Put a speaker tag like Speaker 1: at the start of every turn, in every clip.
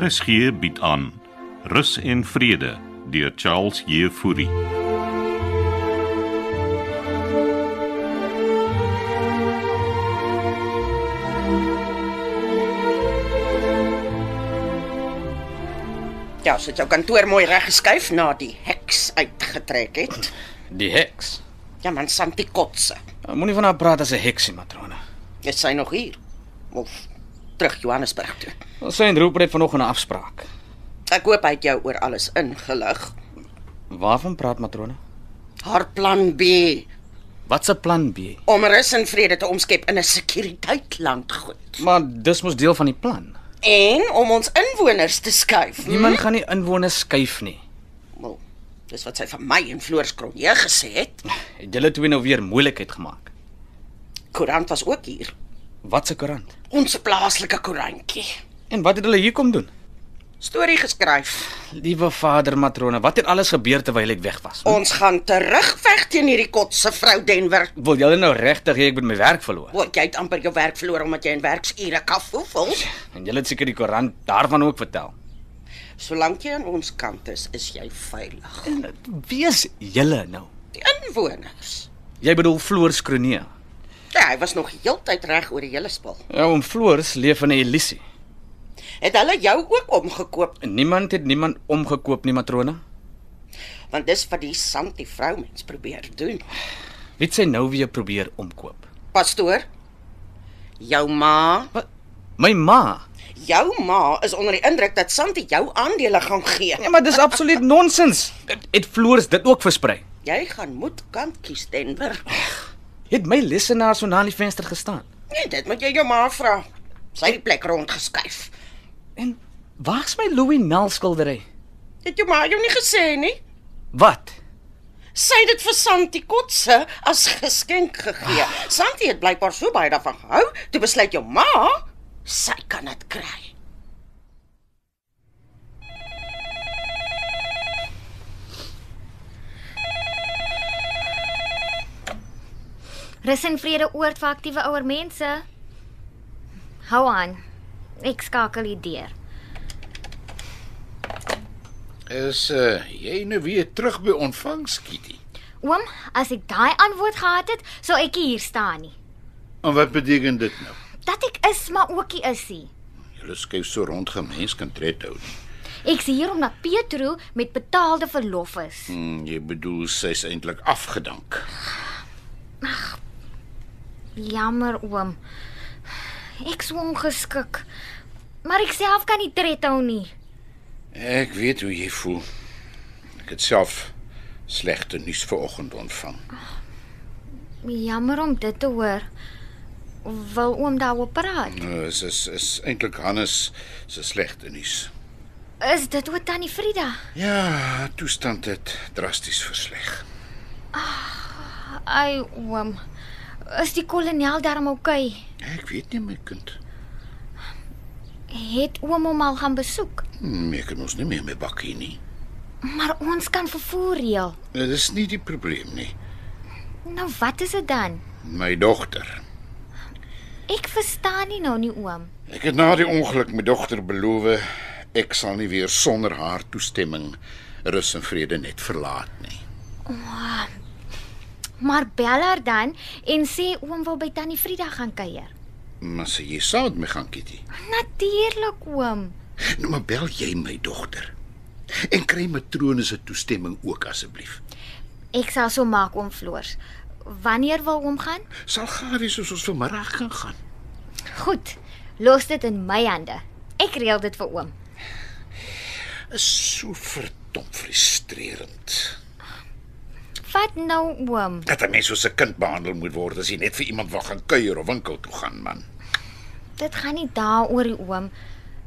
Speaker 1: RSG bied aan Rus en Vrede deur Charles Jefouri.
Speaker 2: Ja, sit jou kantoor mooi reg geskuif na die heks uitgetrek het.
Speaker 3: Die heks.
Speaker 2: Ja man, Santi Kotse.
Speaker 3: Ja, Moenie van haar praat as 'n heksie matrone.
Speaker 2: Is sy nog hier? Of terug Johannesburg toe?
Speaker 3: Ons sê en roep net vanoggend 'n afspraak.
Speaker 2: Ek hoop hy het jou oor alles ingelig.
Speaker 3: Waarvan praat matrone?
Speaker 2: Haar plan B
Speaker 3: Wat se plan B?
Speaker 2: om rus en vrede te omskep in 'n sekuriteitland goed
Speaker 3: Maar dis mos deel van die plan.
Speaker 2: en om ons inwoners te skuif.
Speaker 3: Niemand gaan nie inwoners skuif nie.
Speaker 2: Wel, dis wat sy van my en Floors Kronje gesê het.
Speaker 3: Het julle twee nou weer moeilikheid gemaak?
Speaker 2: Koerant was ook hier.
Speaker 3: Wat se koerant?
Speaker 2: Ons plaaslike koerantjie.
Speaker 3: En wat het hulle hier kom doen?
Speaker 2: Storie geskryf.
Speaker 3: Liewe vader matrone, wat het alles gebeur terwyl ek weg was?
Speaker 2: Ons gaan terugveg teen hierdie kotse vrou Denver.
Speaker 3: Wil julle nou regtig hê ek moet my werk verloor?
Speaker 2: Wat jy het amper jou werk verloor omdat jy in werksure kafoefel.
Speaker 3: En julle het seker die koerant daarvan ook vertel.
Speaker 2: Solank jy aan ons kant is, is jy veilig.
Speaker 3: En wees julle nou.
Speaker 2: Die inwoners.
Speaker 3: Jy bedoel Floors Kronee.
Speaker 2: Ja, hy was nog heeltyd reg oor die hele spul.
Speaker 3: Ja, oom Floors leef in 'n illusie.
Speaker 2: Het hulle jou ook omgekoop?
Speaker 3: Niemand het niemand omgekoop nie, matrone.
Speaker 2: Want dis wat die santie vroumens probeer doen.
Speaker 3: Wie het sy nou weer probeer omkoop?
Speaker 2: Pastoor, jou ma,
Speaker 3: Wat? My ma.
Speaker 2: jou ma is onder die indruk dat santie jou aandele gaan gee.
Speaker 3: Ja, maar dis absoluut nonsens. Het, het Floors dit ook versprei?
Speaker 2: Jy gaan moet kant kies Denver.
Speaker 3: Het my lesenaar so na die venster gestaan.
Speaker 2: Nee, dit moet jy jou ma vra. Sy het die plek rondgeskuif.
Speaker 3: En waar's my Louis Nel skildery?
Speaker 2: Het jou ma jou nie gesê nie?
Speaker 3: Wat?
Speaker 2: Sy het dit vir Santi Kotse as geskenk gegee. Santi het blykbaar so baie daarvan gehou, toe besluit jou ma sy kan dit kry.
Speaker 4: Rus en vrede oord vir aktiewe ouer mense. Hou aan. Ek skakel die deur.
Speaker 5: Is uh, jy nou weer terug by ontvangs, Kitty?
Speaker 4: Oom, as ek daai antwoord gehad het, sou ek nie hier staan nie.
Speaker 5: En wat beteken dit nou?
Speaker 4: Dat ek is, maar ookie is ie.
Speaker 5: Julle skuif so rond gemens kan tred hou. nie.
Speaker 4: Ek's hier omdat Petro met betaalde verlof is.
Speaker 5: Hmm, jy bedoel sy's eintlik afgedank.
Speaker 4: Jammer, oom. Ek sou ongeskik. Maar ek self kan nie tred hou nie.
Speaker 5: Ek weet hoe jy voel. Ek het self slegte nuus vanoggend ontvang.
Speaker 4: Jammer om dit te hoor. Wil oom daaroor praat?
Speaker 5: Nou, Dit is is eintlik Hannes se slegte nuus.
Speaker 4: Is dit oor tannie Frida?
Speaker 5: Ja, toestand het drasties versleg.
Speaker 4: Ai, oom. Is die kolonel darm oukei? Okay?
Speaker 5: Ek weet nie my kind.
Speaker 4: Het oom hom al gaan besoek,
Speaker 5: Hmm, ek kan ons nie meer met bakkie nie.
Speaker 4: maar ons kan vervoer reël.
Speaker 5: Dit is nie die probleem nie.
Speaker 4: Nou wat is dit dan?
Speaker 5: My dogter
Speaker 4: Ek verstaan nie nou nie oom.
Speaker 5: Ek het na die ongeluk my dogter beloof ek sal nie weer sonder haar toestemming rus en vrede net verlaat nie.
Speaker 4: Maar bel haar dan en sê oom wil by tannie Frida gaan kuier.
Speaker 5: Maar sê jy sou met my gaan Kitty.
Speaker 4: Natuurlik oom.
Speaker 5: Nou maar bel jy my dogter. En kry matrone se toestemming ook asseblief.
Speaker 4: Ek sal so maak oom Floors. Wanneer wil oom gaan?
Speaker 5: Sal gawe soos ons vanmiddag kan gaan.
Speaker 4: Goed. Los dit in my hande. Ek reël dit vir oom.
Speaker 5: Is so verdom frustrerend.
Speaker 4: Wat nou oom?
Speaker 5: Dat 'n mens soos 'n kind behandel moet word as jy net vir iemand wil gaan kuier of winkel toe gaan man.
Speaker 4: Dit gaan nie daaroor nie oom.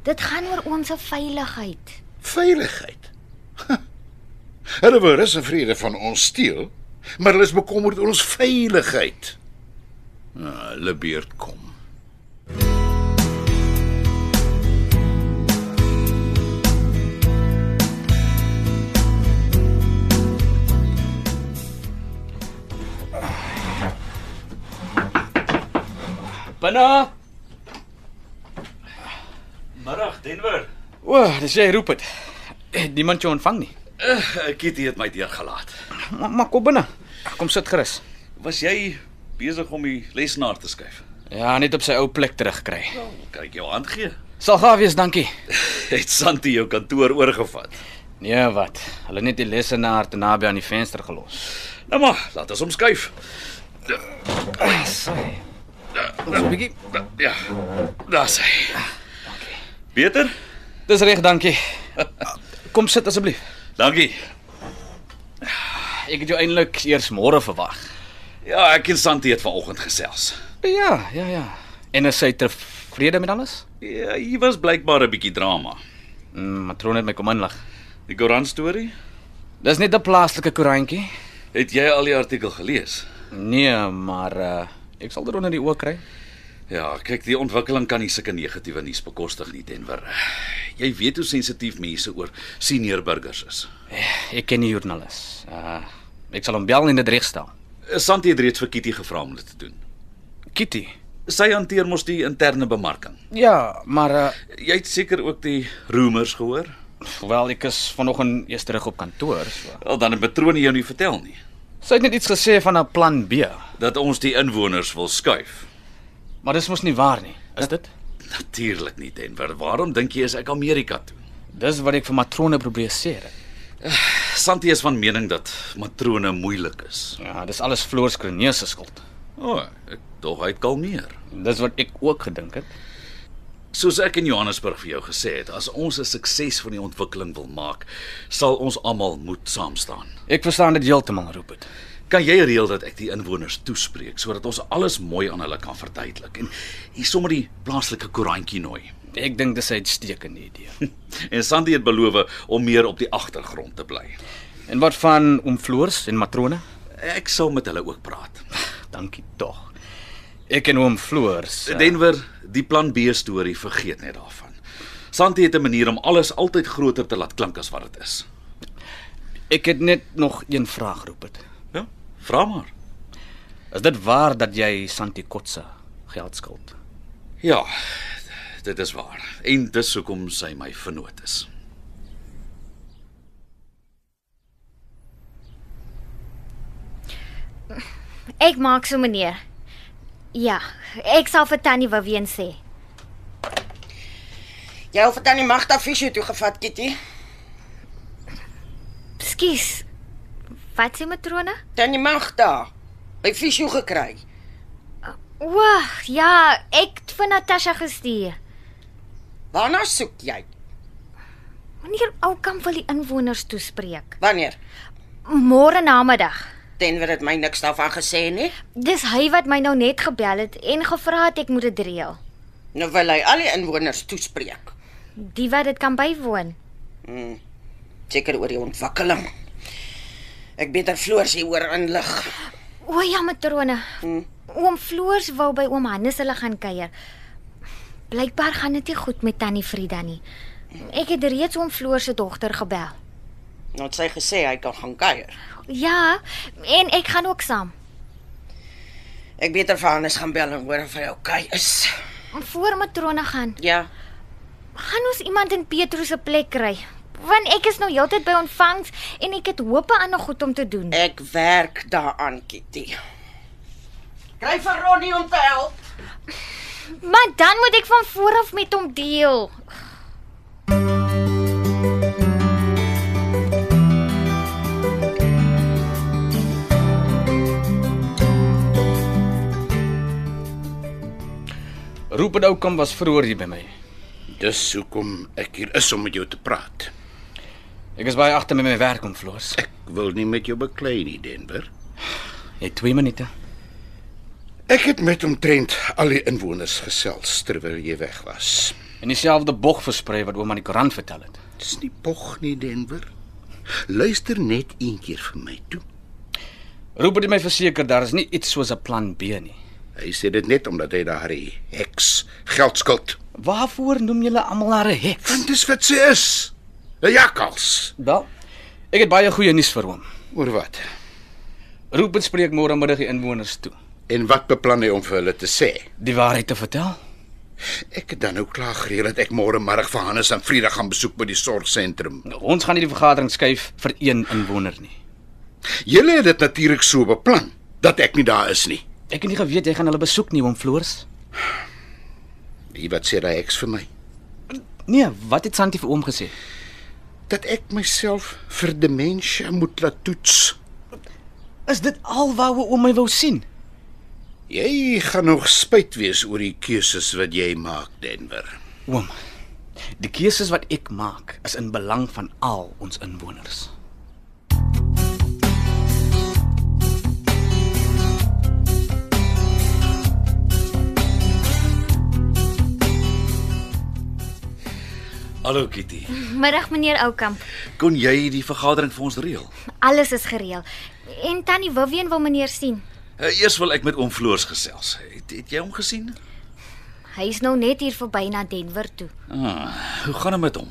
Speaker 4: Dit gaan oor oom se veiligheid.
Speaker 5: Veiligheid. Ha. Hulle wil rus en vrede van ons steel, maar hulle is bekommerd oor ons veiligheid. Ah, hulle beurt kom.
Speaker 3: Binne.
Speaker 6: Middag Denver.
Speaker 3: O, dis jy roep dit. Het Niemand jou ontvang nie.
Speaker 6: Uh, Kitty het my deurgelaat.
Speaker 3: Maar, maar kom binne. Kom sit gerus.
Speaker 6: Was jy besig om die lesenaar te skuif?
Speaker 3: Ja, net op sy ou plek terugkry.
Speaker 6: Kan ek jou hand gee?
Speaker 3: Sal gaaf wees, dankie.
Speaker 6: Het Santi jou kantoor oorgevat?
Speaker 3: Nee, wat? Hulle het net die lesenaar te naby aan die venster gelos.
Speaker 6: Nou maar, laat ons hom skuif.
Speaker 3: Sy. Ons 'n bietjie.
Speaker 6: Da- Ja. Daar's hy. Beter?
Speaker 3: Dis reg, dankie. Kom sit asseblief.
Speaker 6: Dankie.
Speaker 3: Ek het jou eintlik eers môre verwag.
Speaker 6: Ja, ek en Santi het vanoggend gesels.
Speaker 3: Ja, ja, ja. En is sy tevrede met alles?
Speaker 6: Ja, hier was blykbaar 'n bietjie drama.
Speaker 3: Mm, Matrone het my kom inlig.
Speaker 6: Die Koran storie?
Speaker 3: Dis net 'n plaaslike koerantjie.
Speaker 6: Het jy al die artikel gelees?
Speaker 3: Nee, maar uh, ek sal dit onder die oë kry.
Speaker 6: Ja, kyk, die ontwikkeling kan nie sulke negatiewe nuus bekostig nie, Denver. Jy weet hoe sensitief mense oor senior burgers is.
Speaker 3: Eh, Ek ken die joernalis. Uh, ek sal hom bel en dit regstel.
Speaker 6: Santi het reeds vir Kitty gevra om dit te doen.
Speaker 3: Kitty.
Speaker 6: Sy hanteer mos die interne bemarking.
Speaker 3: Ja, maar uh,
Speaker 6: Jy het seker ook die roemers gehoor?
Speaker 3: wel ek is vanoggend eers terug op kantoor, so.
Speaker 6: Wel, dan het Matrone jou nie vertel nie
Speaker 3: Sy het net iets gesê van 'n plan B,
Speaker 6: dat ons die inwoners wil skuif.
Speaker 3: maar dis mos nie waar nie. Is dit?
Speaker 6: Natuurlik nie, Denver. Waarom dink jy is ek Amerika toe?
Speaker 3: Dis wat ek vir Matrone probeer sê.
Speaker 6: Santi is van mening dat matrone moeilik is.
Speaker 3: Ja, dis alles Floors Kronee se skuld.
Speaker 6: O, oh, ek dog hy het kalmeer.
Speaker 3: Dis wat ek ook gedink het.
Speaker 6: Soos ek in Johannesburg vir jou gesê het, as ons 'n sukses van die ontwikkeling wil maak, sal ons almal moet saam staan.
Speaker 3: Ek verstaan dit heeltemal, Rupert.
Speaker 6: Kan jy reël dat ek die inwoners toespreek sodat ons alles mooi aan hulle kan verduidelik en hier sommer die plaaslike koerantjie nooi.
Speaker 3: Ek dink dis 'n uitstekende idee.
Speaker 6: En Sandy het beloof om meer op die agtergrond te bly.
Speaker 3: en wat van oom Floors en Matrone?
Speaker 6: Ek sal met hulle ook praat.
Speaker 3: Dankie tog. Ek en oom Floors. eh,
Speaker 6: Denver, die plan B storie vergeet net daarvan. Sandy het 'n manier om alles altyd groter te laat klink as wat dit is.
Speaker 3: Ek het net nog een vraag, Rupert.
Speaker 6: Ja, vra maar.
Speaker 3: Is dit waar dat jy Santi Kotse geld skuld?
Speaker 6: Ja, dit is waar. En dis hoekom sy my vernoot is.
Speaker 4: Ek maak so meneer. Ja, ek sal vir Tannie Wawien sê.
Speaker 2: Jy het dan die magta fisio toe gevat, Kitty.
Speaker 4: Skus. Wat sê matrone?
Speaker 2: Dan die magta. Hy fisio gekry.
Speaker 4: O, ja, ek het vir Natasha gestuur.
Speaker 2: Waarna soek jy?
Speaker 4: Wanneer Oukamp wil die inwoners toespreek?
Speaker 2: Wanneer?
Speaker 4: Môre namiddag.
Speaker 2: Denver het my niks daarvan gesê nee. nie.
Speaker 4: Dis hy wat my nou net gebel het en gevra het ek moet dit reël.
Speaker 2: Nou wil hy al die inwoners toespreek.
Speaker 4: Die wat dit kan bywoon.
Speaker 2: Seker oor die ontwikkeling. Ek beter floors hier oor inlig.
Speaker 4: O ja, matrone. Oom Floors wou by oom Hannes hulle gaan kuier. Blykbaar gaan dit nie goed met tannie Frida nie. Ek het reeds oom Floors se dogter gebel.
Speaker 2: Nou het sy gesê hy kan gaan kuier.
Speaker 4: Ja, en ek gaan ook saam.
Speaker 2: Ek beter vir Hannes gaan bel en hoor of hy oukei okay is.
Speaker 4: Voor matrone gaan.
Speaker 2: Ja.
Speaker 4: Gaan ons iemand in Petrus se plek kry? Want ek is nou heeltyd by ontvangs en ek het hoop aan nog goed om te doen.
Speaker 2: Ek werk daaraan, Kitty. Kry vir Ronnie om te help.
Speaker 4: Maar dan moet ek van voor af met hom deel.
Speaker 3: Rupert Oukamp was vroeër hier by my.
Speaker 5: Dis hoekom ek hier is om met jou te praat.
Speaker 3: Ek is baie agter met my werk om Floors.
Speaker 5: Ek wil nie met jou beklei nie, Denver.
Speaker 3: Jy het 2 minute.
Speaker 5: Ek het met omtrent al die inwoners gesels terwyl jy weg was.
Speaker 3: En dieselfde bog versprei wat ouma in die koerant vertel het.
Speaker 5: Dis nie pog nie, Denver. Luister net een keer vir my toe.
Speaker 3: Rupert het my verseker daar is nie iets soos 'n plan B nie.
Speaker 5: Hy sê dit net omdat hy daardie heks geld skuld.
Speaker 3: Waarvoor noem julle almal haar 'n heks?
Speaker 5: Want dis wat sy is. 'n Jakkals.
Speaker 3: Wel, ek het baie goeie nuus vir hom.
Speaker 5: Oor wat?
Speaker 3: Rupert spreek môre middag die inwoners toe.
Speaker 5: En wat beplan hy om vir hulle te sê?
Speaker 3: Die waarheid te vertel.
Speaker 5: Ek het dan nou klaar gereël dat ek môre middag vir Hannes en Frieda gaan besoek by die sorgsentrum.
Speaker 3: Ons gaan nie die vergadering skuif vir een inwoner nie.
Speaker 5: Julle het dit natuurlik so beplan dat ek nie daar is nie.
Speaker 3: Ek het nie geweet jy gaan hulle besoek nie, oom Floors.
Speaker 5: Wie wat sê daai eks vir my?
Speaker 3: Nee, wat het Santi vir oom gesê?
Speaker 5: Dat ek myself vir demensie moet laat toets.
Speaker 3: Is dit al wat oom my wou sien?
Speaker 5: Jy gaan nog spyt wees oor die keuses wat jy maak, Denver.
Speaker 3: Oom, die keuses wat ek maak is in belang van al ons inwoners.
Speaker 6: Hallo Kitty.
Speaker 4: Middag meneer Oukamp.
Speaker 6: Kon jy die vergadering vir ons reël?
Speaker 4: Alles is gereël. En tannie Vivian wil meneer sien.
Speaker 6: Eh, Eers wil ek met oom Floors gesels. Het, het jy hom gesien?
Speaker 4: Hy is nou net hier verby na Denver toe.
Speaker 6: Ah, hoe gaan dit met hom?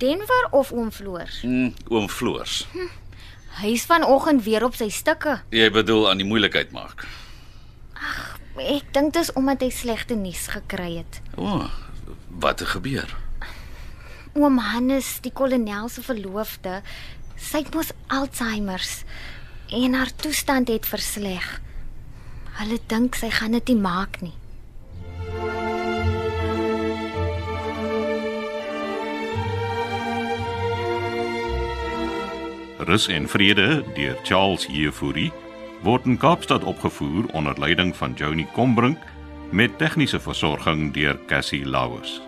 Speaker 4: Denver of oom Floors?
Speaker 6: Hm, oom Floors.
Speaker 4: Hy is vanoggend weer op sy stukke.
Speaker 6: Jy bedoel aan die moeilikheid maak.
Speaker 4: Ek dink dis omdat hy slegte nuus gekry het.
Speaker 6: O, oh, wat het gebeur?
Speaker 4: Oom Hannes, die kolonel se verloofde, sy het mos Alzheimer's en haar toestand het versleg. Hulle dink sy gaan dit nie maak nie.
Speaker 1: Rus en Vrede deur Charles Jefouri word in Kaapstad opgevoer onder leiding van Johnny Combrink met tegniese versorging deur Cassie Lauers.